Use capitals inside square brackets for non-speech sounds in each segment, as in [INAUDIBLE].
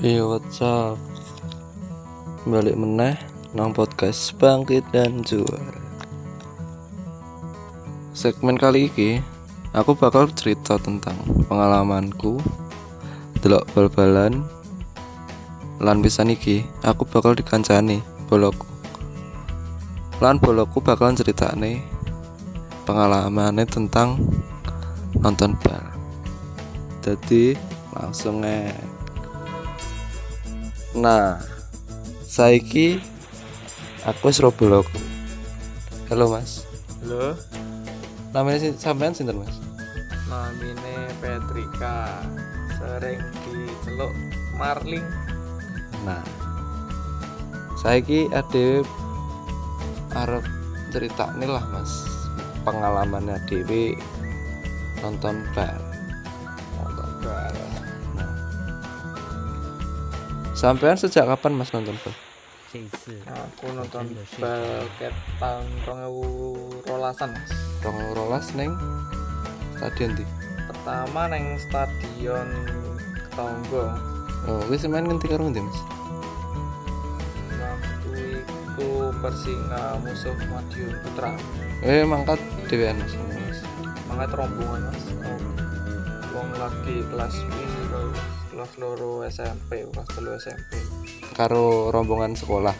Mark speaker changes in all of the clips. Speaker 1: Yo what's up Balik meneh Nang podcast Bangkit dan Juara Segmen kali ini Aku bakal cerita tentang pengalamanku Delok bal-balan Lan pisan iki Aku bakal dikancani boloku Lan boloku bakalan ceritane Pengalamannya tentang Nonton bal Jadi langsung ae. Nah, saiki aku wis Roblox. Halo Mas.
Speaker 2: Halo,
Speaker 1: Namanya si sampean sinten Mas?
Speaker 2: namine Petrika. Sering diceluk Marling.
Speaker 1: Nah. Saiki adewe arep ceritakne lah Mas pengalaman adewe nonton bal. Nonton bal. Nah. Sampean sejak kapan Mas nonton bal?
Speaker 2: Aku nonton bal ket tahun 2012-an, Mas.
Speaker 1: Rong rolas neng stadion di.
Speaker 2: Pertama neng stadion Ketonggo.
Speaker 1: Oh, wis main ngendi karo ngendi Mas?
Speaker 2: Waktu itu Persinga musuh Madiun Putra.
Speaker 1: Eh, mangkat dhewean Mas. Mas.
Speaker 2: Mangat rombongan, Mas. Oh. Wong lagi kelas piro? kelas loro SMP, kelas telu SMP.
Speaker 1: karo rombongan sekolah.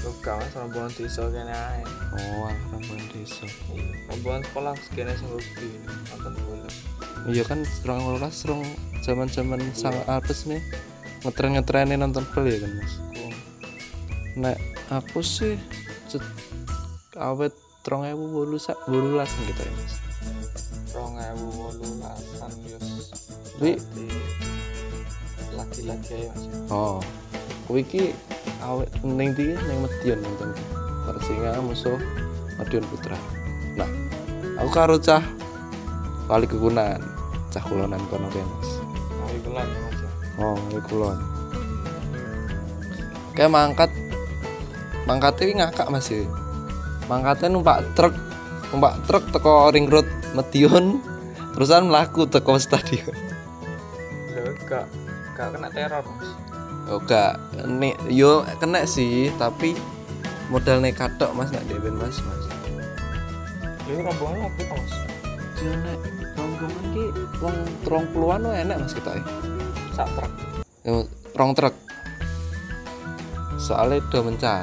Speaker 2: Luka mas rombongan desa kene ae.
Speaker 1: Oh, rombongan desa.
Speaker 2: rombongan sekolah segini sing hobi nonton bola
Speaker 1: Iya kan serang rolas serang zaman-zaman sang artis nih ngetren-ngetrenin nonton bal ya kan Mas.
Speaker 2: aku
Speaker 1: Nek aku sih cet, awet 2008 sak bolulas gitu ya Mas.
Speaker 2: rong ewu wolu lasan yus
Speaker 1: Wi.
Speaker 2: Berarti lagi-lagi aja mas
Speaker 1: Oh. Kuwi iki awet ning ndi ning Medion nonton. Persinga musuh Madiun Putra. Nah, aku karo cah wali kekunan, cah kulonan kono kae Mas.
Speaker 2: mau ikulan mas ya
Speaker 1: Oh, ini kulon. Kayak mangkat. Mangkatnya ini ngakak Mas ya. Mangkatnya numpak truk, numpak truk teko ring road Medion terusan melaku teko stadion.
Speaker 2: lho gak gak kena teror mas
Speaker 1: Oke, nek yo kena sih, tapi modal nekat tok Mas nak dewen Mas, Mas.
Speaker 2: lho rombongan apa itu, mas
Speaker 1: Yo nek rombongan ki wong 30-an wae enak Mas kita.
Speaker 2: sak truk
Speaker 1: Ya, rong truk. Soalnya udah mencar.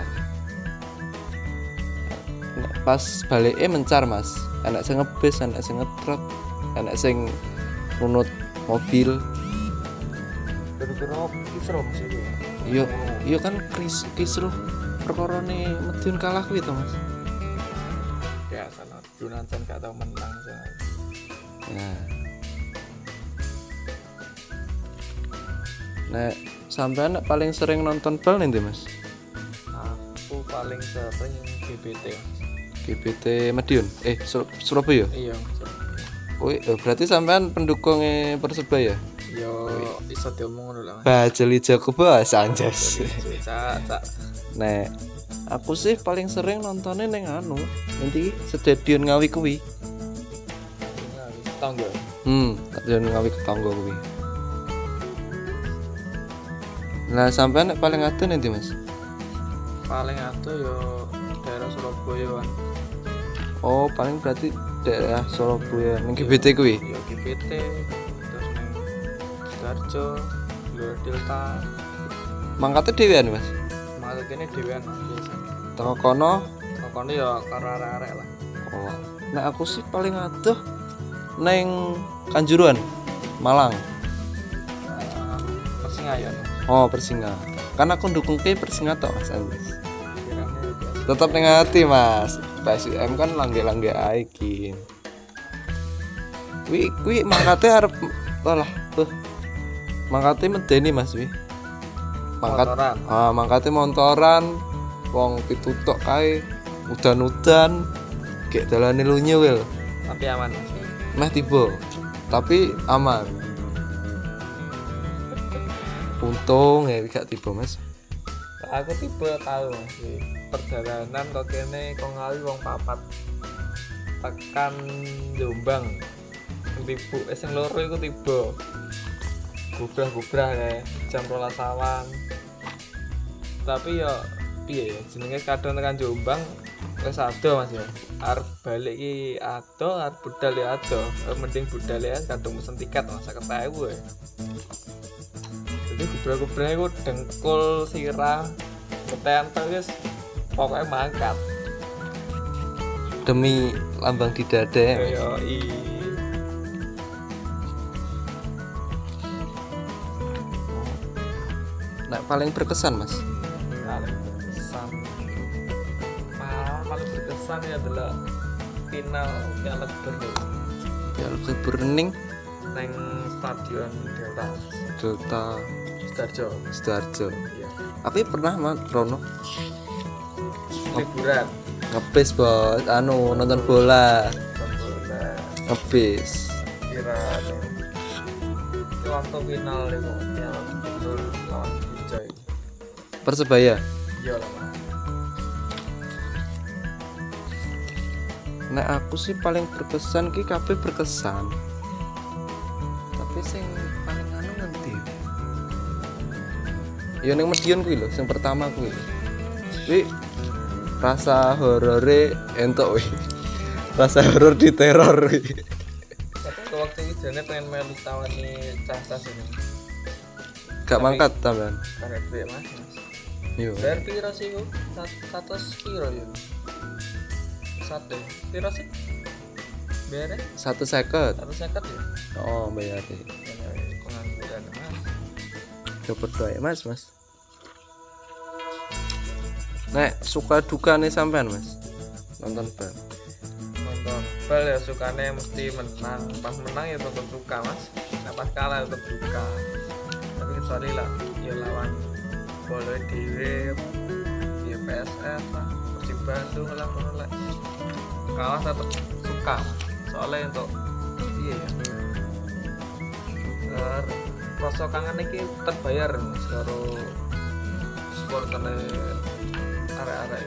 Speaker 1: Nek Pas balik mencar mas. Anak saya ngebis, anak saya ngetruk, anak saya nunut mobil.
Speaker 2: kira-kira kisro mas itu ya
Speaker 1: Yo, yo kan kris kisruh perkara nih Medion kalah kuwi to mas.
Speaker 2: biasa lah Yunansen gak tau menang saya
Speaker 1: Nah. Nek sampean nek paling sering nonton bal nih mas.
Speaker 2: aku paling sering GBT mas
Speaker 1: GBT Medion. Eh Sur- Surabaya.
Speaker 2: iya mas
Speaker 1: Wih, eh, berarti sampean pendukungnya Persebaya?
Speaker 2: yo Iya, iso diomong ngono lah mas
Speaker 1: Bajeli Jacoba Sanchez.
Speaker 2: cak cak
Speaker 1: Nek, aku sih paling sering nontonnya neng anu, nanti stadion Ngawi kuwi.
Speaker 2: tangga
Speaker 1: Hmm, stadion Ngawi ketangga kuwi. Nah, sampean nek paling atuh nanti Mas.
Speaker 2: paling atuh yo daerah Surabaya kan
Speaker 1: Oh, paling berarti daerah Surabaya ning GBT kuwi.
Speaker 2: yo GPT terus neng Sidoarjo Luar Delta
Speaker 1: Mangkate dhewean Mas.
Speaker 2: malah kene dhewean lah biasa
Speaker 1: Teko kono
Speaker 2: pokoknya yo karo arek-arek lah
Speaker 1: Oh. Nah aku sih paling atuh neng Kanjuruan, Malang.
Speaker 2: Eh, Persinga yo
Speaker 1: Oh Persinga. Kan aku dukung ke Persinga tok Mas Andres.
Speaker 2: kirane yo biasa
Speaker 1: Tetap neng hati Mas. PSM kan langge-langge ae iki. Wi kuwi mangkate arep walah tuh. Mangkate medeni Mas wi. Mangkat
Speaker 2: motoran
Speaker 1: ah mangkate montoran wong pitutok kae udan-udan kayak dalane lunyu wil.
Speaker 2: tapi aman mas
Speaker 1: meh tiba tapi aman untung ya gak tiba mas
Speaker 2: aku tipe tahu Mas. Di perjalanan kok kene kok ngawi wong papat tekan Jombang Sing tibu eh sing loro iku tiba gubrah-gubrah ya jam rolas awan tapi ya piye ya jenenge kadang tekan Jombang wis ado Mas ya arep balik ki ado arep budal ya ado Eh, mending budal ya kadang mesen tiket Mas 50.000 ya jadi gubrah-gubrah iku dengkul sirah ketentel guys pokoknya mangkat
Speaker 1: demi lambang di dada ya Mas.
Speaker 2: yo i
Speaker 1: Nah, paling berkesan mas
Speaker 2: paling berkesan pengalaman paling berkesan ya adalah final Piala Gubernur
Speaker 1: ya lebih burning
Speaker 2: neng stadion Delta
Speaker 1: Delta
Speaker 2: Sidoarjo
Speaker 1: Sidoarjo
Speaker 2: iya
Speaker 1: tapi pernah mas Rono
Speaker 2: liburan
Speaker 1: ngebis bos anu nonton bola
Speaker 2: Pembola
Speaker 1: ngebis
Speaker 2: kira itu waktu final itu Piala Gubernur lawan Bijoy
Speaker 1: persebaya
Speaker 2: iya lah Mas.
Speaker 1: Nek aku sih paling berkesan ki kabeh berkesan. Tapi sing paling anu ngendi? Ya ning Medion kuwi lho, sing pertama kuwi. lho. Kuwi rasa horore entuk kuwi. [LAUGHS] Rasa horor di teror kuwi.
Speaker 2: tapi ke waktu itu jane pengen melu tawani cah-cah ini
Speaker 1: Gak mangkat tambahan.
Speaker 2: karena duit mas mas
Speaker 1: Yo.
Speaker 2: bayar piro sih itu satu piro ya satu piro sih bayarnya
Speaker 1: 150.
Speaker 2: satu seket ya
Speaker 1: Oh, bayar.
Speaker 2: Ya, ya, pengangguran mas
Speaker 1: Dapat doa Mas, Mas. Nek suka duka nih sampean, Mas. Nonton bal.
Speaker 2: nonton bal ya sukanya mesti menang pas menang ya tetap suka mas nah, pas kalah tetap suka tapi kecuali lah ya lawan boleh dewe ya PSS lah Persib Bandung lah ngono lah kalah tetap suka Mas. soalnya untuk iya ya er, rasa kangen iki terbayar mas karo supporternya arek-arek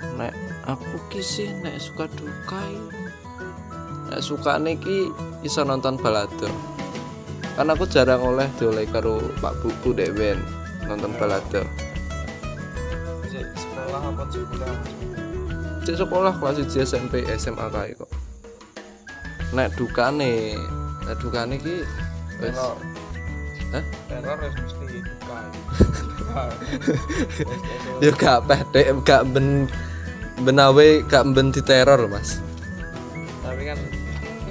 Speaker 2: ini
Speaker 1: nek aku ki sih nek suka duka ya. nek suka ki iso nonton balado kan aku jarang oleh dioleh karo pak buku dek ben nonton balado
Speaker 2: Jadi, sekolah apa sekolah
Speaker 1: cek sekolah kelas 1 SMP SMA kae kok nek dukane nek dukane ki wis
Speaker 2: teror
Speaker 1: Hah?
Speaker 2: teror harus mesti buka
Speaker 1: ya gak pedek gak ben benawe gak ben diteror mas
Speaker 2: tapi kan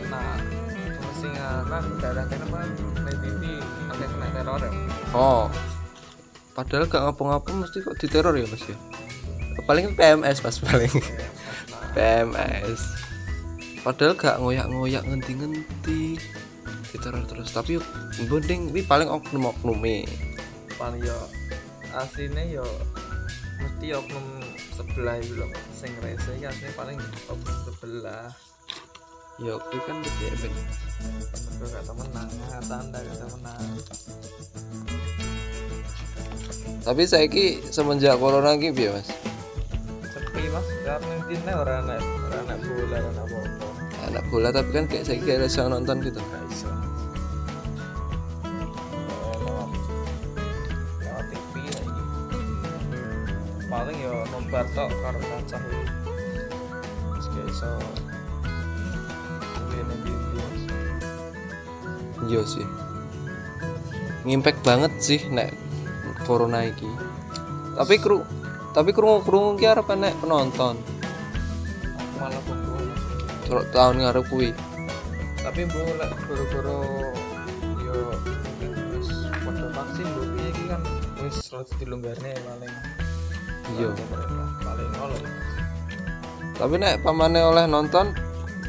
Speaker 2: nah kemesingan daerah kena kan di TV ada kena teror ya
Speaker 1: Oh. Padahal gak ngapa-ngapa mesti kok diteror ya, Mas ya. Paling PMS pas paling. PMS. Padahal gak ngoyak-ngoyak ngenti-ngenti. Diteror terus, tapi mending ini paling oknum-oknume.
Speaker 2: paling yo aslinya yo mesti oknum sebelah itu loh sing rese iki aslinya paling oknum sebelah
Speaker 1: Ya, kuwi kan gitu ya, Ben.
Speaker 2: Mergo kata menang tanda kata menang
Speaker 1: Tapi saiki semenjak corona iki piye, Mas? ya,
Speaker 2: sepi mas karena intinya orang anak orang anak bola orang anak apa
Speaker 1: Anak bola tapi kan kayak saiki gak iso nonton gitu.
Speaker 2: nggak iso lewat lewat TV lagi paling ya nobar tok karo kancah lu terus gak iso ini binti
Speaker 1: Iya sih. Ngimpact banget sih nek corona iki. Tapi kru tapi krungu-krungu ki arep nek penonton.
Speaker 2: aku malah kumpul
Speaker 1: Terus tahun ngarep kuwi.
Speaker 2: tapi bu lek goro-goro yo mungkin wis foto vaksin bu ini kan wis roti dilonggarne paling
Speaker 1: Iya.
Speaker 2: paling oleh
Speaker 1: Tapi nek pamane oleh nonton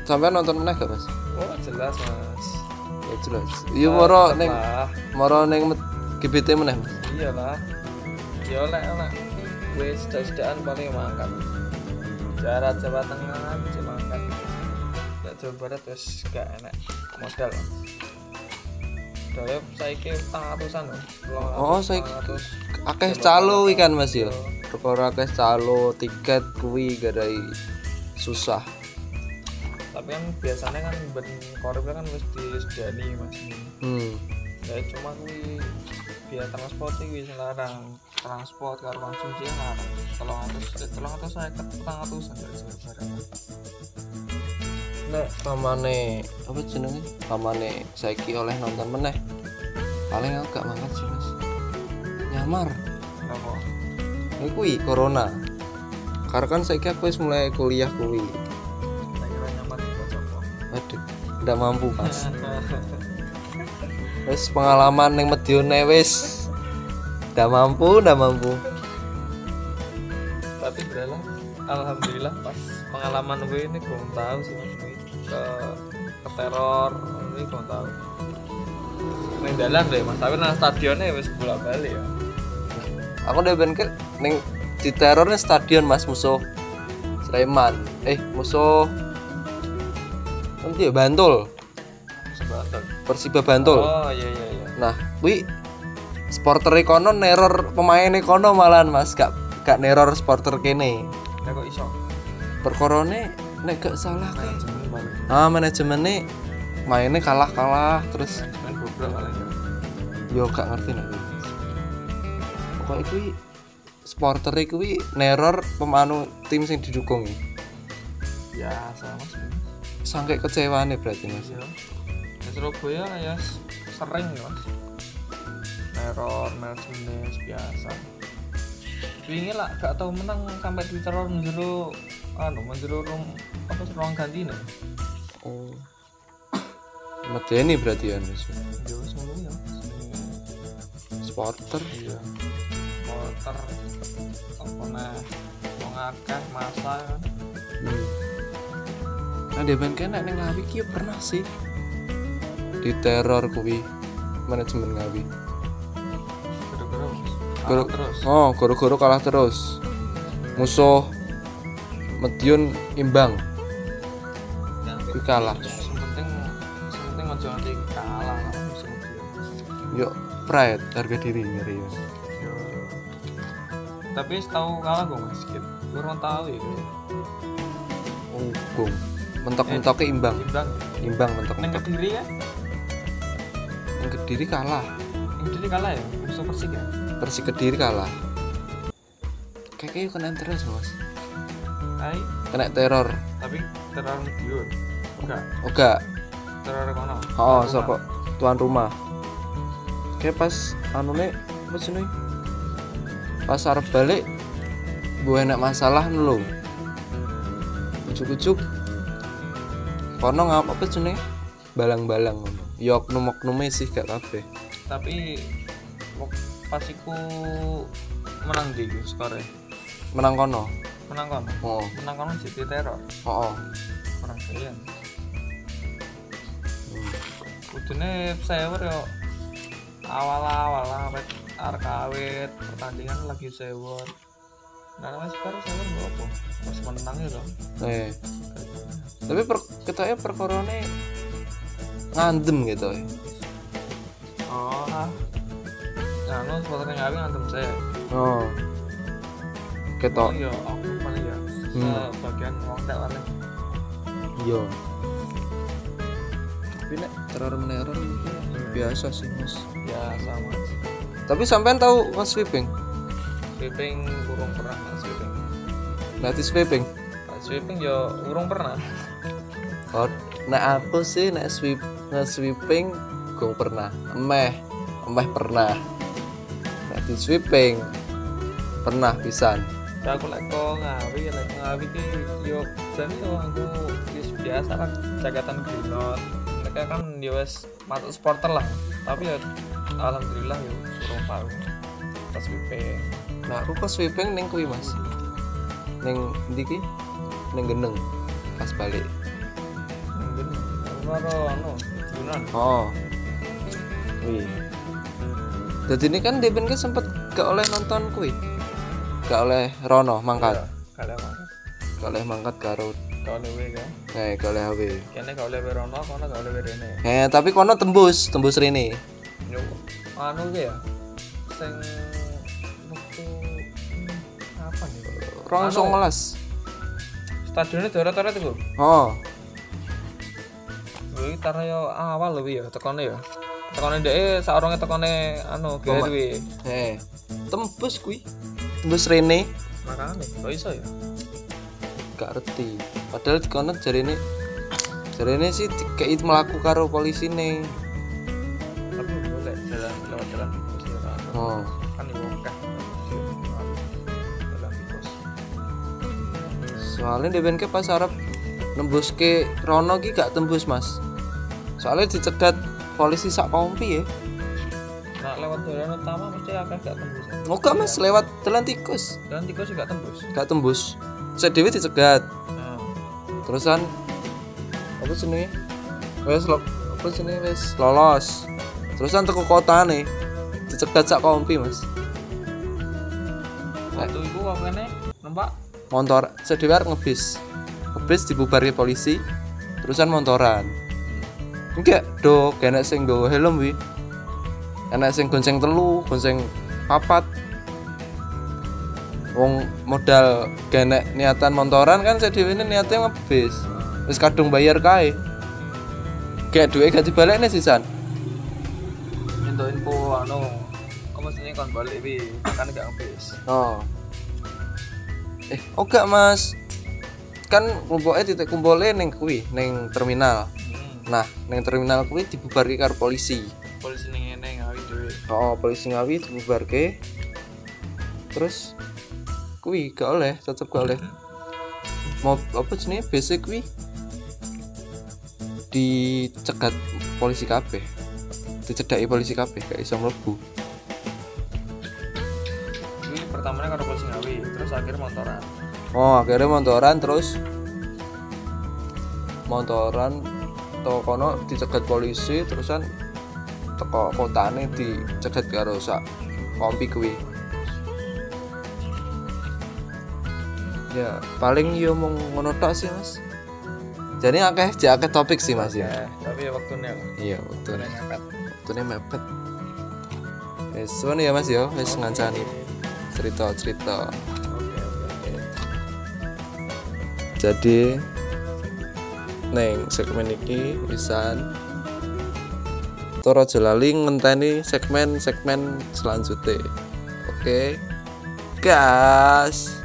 Speaker 1: sampean nonton meneh gak, Mas?
Speaker 2: oh jelas mas
Speaker 1: Ya jelas. Iya moro ning
Speaker 2: Lah.
Speaker 1: moro ning met- GBT meneh, Mas.
Speaker 2: iyalah ya lek lek gue sedaan paling mangkat jarak Jawa Tengah bisa mangkat lek Jawa Barat wis gak enak modal Daya saiki ratusan loh.
Speaker 1: Oh, saiki-
Speaker 2: ratus.
Speaker 1: Akeh calo ikan, Mas ya. Perkara akeh calo tiket kuwi garai susah.
Speaker 2: tapi kan biasanya kan ben korup kan wis disediani mas
Speaker 1: hmm.
Speaker 2: ya cuma kuwi biaya transport iki wis larang transport karo konsumsi larang kalau harus kalau harus saya ke petang atusan dari sini barang
Speaker 1: nek pamane apa jenenge pamane saiki oleh nonton meneh paling aku gak banget sih mas nyamar
Speaker 2: apa
Speaker 1: ini kui corona karena kan saiki aku wis mulai kuliah kui
Speaker 2: saya kira nyaman juga coba
Speaker 1: aduh ndak mampu mas
Speaker 2: [LAUGHS]
Speaker 1: wis pengalaman yang medione wis ndak mampu ndak mampu
Speaker 2: tapi berarti alhamdulillah pas pengalaman gue ini gue tahu sih mas gue ke ke teror ini gue tahu neng dalan deh mas tapi nang stadionnya wis bolak balik ya
Speaker 1: aku udah ben ke neng di terornya stadion mas musuh Sleman eh musuh nanti ya Bantul
Speaker 2: sebatas
Speaker 1: Persiba Bantul
Speaker 2: oh iya iya iya
Speaker 1: Nah, kuwi supporter kono neror pemain e kono malahan Mas, gak gak neror supporter kene.
Speaker 2: ya kok iso
Speaker 1: Perkorone nek gak salah
Speaker 2: main
Speaker 1: kan.
Speaker 2: jemen balik
Speaker 1: Ah, manajemennya mainnya kalah-kalah terus
Speaker 2: main goblok malah ya
Speaker 1: yo gak ngerti nek kuwi. Pokoke kuwi supporter kuwi neror pemanu tim sing didukung. e.
Speaker 2: ya sama sih
Speaker 1: Sangke kecewane berarti Mas.
Speaker 2: iya ya Surabaya ya s- sering ya mas teror mercedes biasa Wingi lah gak tau menang sampai di teror menjuru anu menjuru rum apa sih, ruang ganti nih
Speaker 1: Oh. Medeni berarti ya Mas.
Speaker 2: jauh semua ya Mas.
Speaker 1: Supporter
Speaker 2: iya motor apa nah wong akeh masa kan
Speaker 1: Hmm. Nah, di band kena neng ngawi kia pernah sih di teror kuwi manajemen ngawi.
Speaker 2: gara-gara
Speaker 1: Gara-
Speaker 2: Kalah terus
Speaker 1: Oh, goro-goro kalah terus. Musuh Medion imbang. Kuwi kalah.
Speaker 2: yang penting yang penting ojo nanti kalah lah musim dia.
Speaker 1: Yuk, pride harga diri ngeri. ya.
Speaker 2: Yo. Tapi setahu kalah gue mas, Kit. Gue orang tahu ya.
Speaker 1: Oh, gong. Mentok-mentoknya imbang,
Speaker 2: Imbang.
Speaker 1: imbang
Speaker 2: Neng
Speaker 1: mentok-mentok.
Speaker 2: kediri ya?
Speaker 1: Yang kediri kalah,
Speaker 2: Neng kediri kalah ya? Musuh persik ya?
Speaker 1: Persi kediri kalah. Kayaknya yuk kena terus mas,
Speaker 2: Tapi
Speaker 1: kena teror.
Speaker 2: tapi teror mediur. Enggak.
Speaker 1: Oga,
Speaker 2: Teror kono.
Speaker 1: Oh,
Speaker 2: Teror
Speaker 1: sapa tuan rumah. Kayak pas anu nih, apa sih nih? Pas arep balik, gue enak masalah nelo. Ujuk-ujuk, kono ngapa apa sih nih? Balang-balang ngono. Yok numok nume sih gak kabeh.
Speaker 2: rumah. Tapi wak- pas iku menang di iku skornya.
Speaker 1: Menang kono.
Speaker 2: Menang kono.
Speaker 1: Oh,
Speaker 2: Menang kono jadi teror.
Speaker 1: oh, oh.
Speaker 2: Orang kalian. Kudune sewer yo awal-awal awet arek awet pertandingan lagi sewer. Nah, wis baru sewer gak apa. Pas menang ya toh.
Speaker 1: Eh, tapi per ketoknya perkorone ngandem gitu ya.
Speaker 2: Oh. ah. Nah, lu supporter ngawi ngantem saya.
Speaker 1: Oh.
Speaker 2: Oh
Speaker 1: Ketok.
Speaker 2: yo aku paling ya
Speaker 1: Hmm.
Speaker 2: sebagian wong tak paling.
Speaker 1: Iya. Tapi nek teror meneror itu biasa sih mas.
Speaker 2: Ya sama.
Speaker 1: Tapi sampean tahu mas sweeping,
Speaker 2: Sweeping kurung pernah Mas, sweeping.
Speaker 1: nanti sweeping.
Speaker 2: Nah, Sweeping yo urung pernah.
Speaker 1: Oh, nah aku sih nek sweep nge sweeping gong pernah, emeh emeh pernah. Nanti sweeping pernah pisan.
Speaker 2: Nah, aku lek kok ngawi lek ngawi ki yo jane yo aku wis biasa lah jagatan grilot mereka kan yo wis masuk supporter lah tapi ya alhamdulillah yo suruh paru pas WP
Speaker 1: Nah aku kok sweeping neng kui mas, neng diki, neng geneng pas balik.
Speaker 2: mungkin karo anu Yunan
Speaker 1: Oh. Wih. Jadi ini kan Deben kan sempet gak oleh nonton kui. Gak oleh Rono mangkat.
Speaker 2: kalian mana
Speaker 1: Gak oleh mangkat karo
Speaker 2: kau lewe kan
Speaker 1: eh gak oleh HW.
Speaker 2: kene kau lewe Rono kono kau lewe Rene
Speaker 1: Eh tapi kono tembus, tembus Rene.
Speaker 2: yo anu ki ya sing waktu hmm, apa nih
Speaker 1: Rong
Speaker 2: Anu.
Speaker 1: songolas.
Speaker 2: stadionnya dorat-dorat itu
Speaker 1: Oh.
Speaker 2: Kuwi tarno yo awal lho kuwi yo tekone yo. Tekone ndeke saurunge tekone anu
Speaker 1: Oma.
Speaker 2: gawe duwe.
Speaker 1: eh tembus kui tembus Rene
Speaker 2: Makane kok iso ya?
Speaker 1: gak ngerti padahal dikono jarene jarene sih dikei melaku karo polisi nih
Speaker 2: Tapi boleh jalan lewat jalan tikus ya, kan.
Speaker 1: oh
Speaker 2: Kan yo kan. Jalan tikus.
Speaker 1: soalnya DBNK pas Arab nembus ke Rono ki gak tembus mas soalnya dicegat polisi sak kompi ya
Speaker 2: Nah, lewat jalan utama mesti akan gak tembus. ya.
Speaker 1: Moga mas lewat jalan tikus
Speaker 2: Jalan tikus juga tembus.
Speaker 1: gak tembus saya Dewi dicegat
Speaker 2: Nah,
Speaker 1: terusan apa sini wes lo apa sini wes lolos terusan teko kota nih dicegat sak kompi mas
Speaker 2: waktu itu wakene numpak
Speaker 1: motor sedewer ngebis ngebis dibubarke polisi terusan montoran enggak do kena sing nggawa helm wi enak sing gonceng telu gonceng papat wong modal kena niatan montoran kan saya ini niatnya ngebis wis kadung bayar kae kayak duit gak dibalik nih sisan
Speaker 2: untuk info anu kamu sini kon balik bi makan gak habis
Speaker 1: oh eh oh gak mas kan kelompoknya titik kumpulnya neng kui neng terminal
Speaker 2: hmm.
Speaker 1: Nah, neng terminal kuwi dibubarke karo polisi.
Speaker 2: polisi nih ini ngawi duit
Speaker 1: Oh, polisi ngawi dibubarke. Terus kuwi gak oleh, tetep gak oleh. Mau apa jenenge basic kuwi dicegat polisi kabeh. Dicedaki polisi kabeh gak iso mlebu.
Speaker 2: ini pertamanya karena polisi ngawi terus akhirnya motoran
Speaker 1: Oh, akhirnya montoran terus montoran toko kono dicegat polisi terusan teko kotane dicegat karo sak kompi kuwi. Ya, paling yo mung ngono tok sih, Mas. Jadi akeh jek akeh topik sih, Mas ya.
Speaker 2: ya tapi ya waktunya lah
Speaker 1: Iya, betul.
Speaker 2: udah ngangkat
Speaker 1: Waktune mepet. Wis ngono ya, Mas ya. Wis ngancani cerita-cerita.
Speaker 2: oke oke
Speaker 1: jadi neng segmen iki pisan Toro Jolali ngenteni segmen-segmen selanjutnya oke gas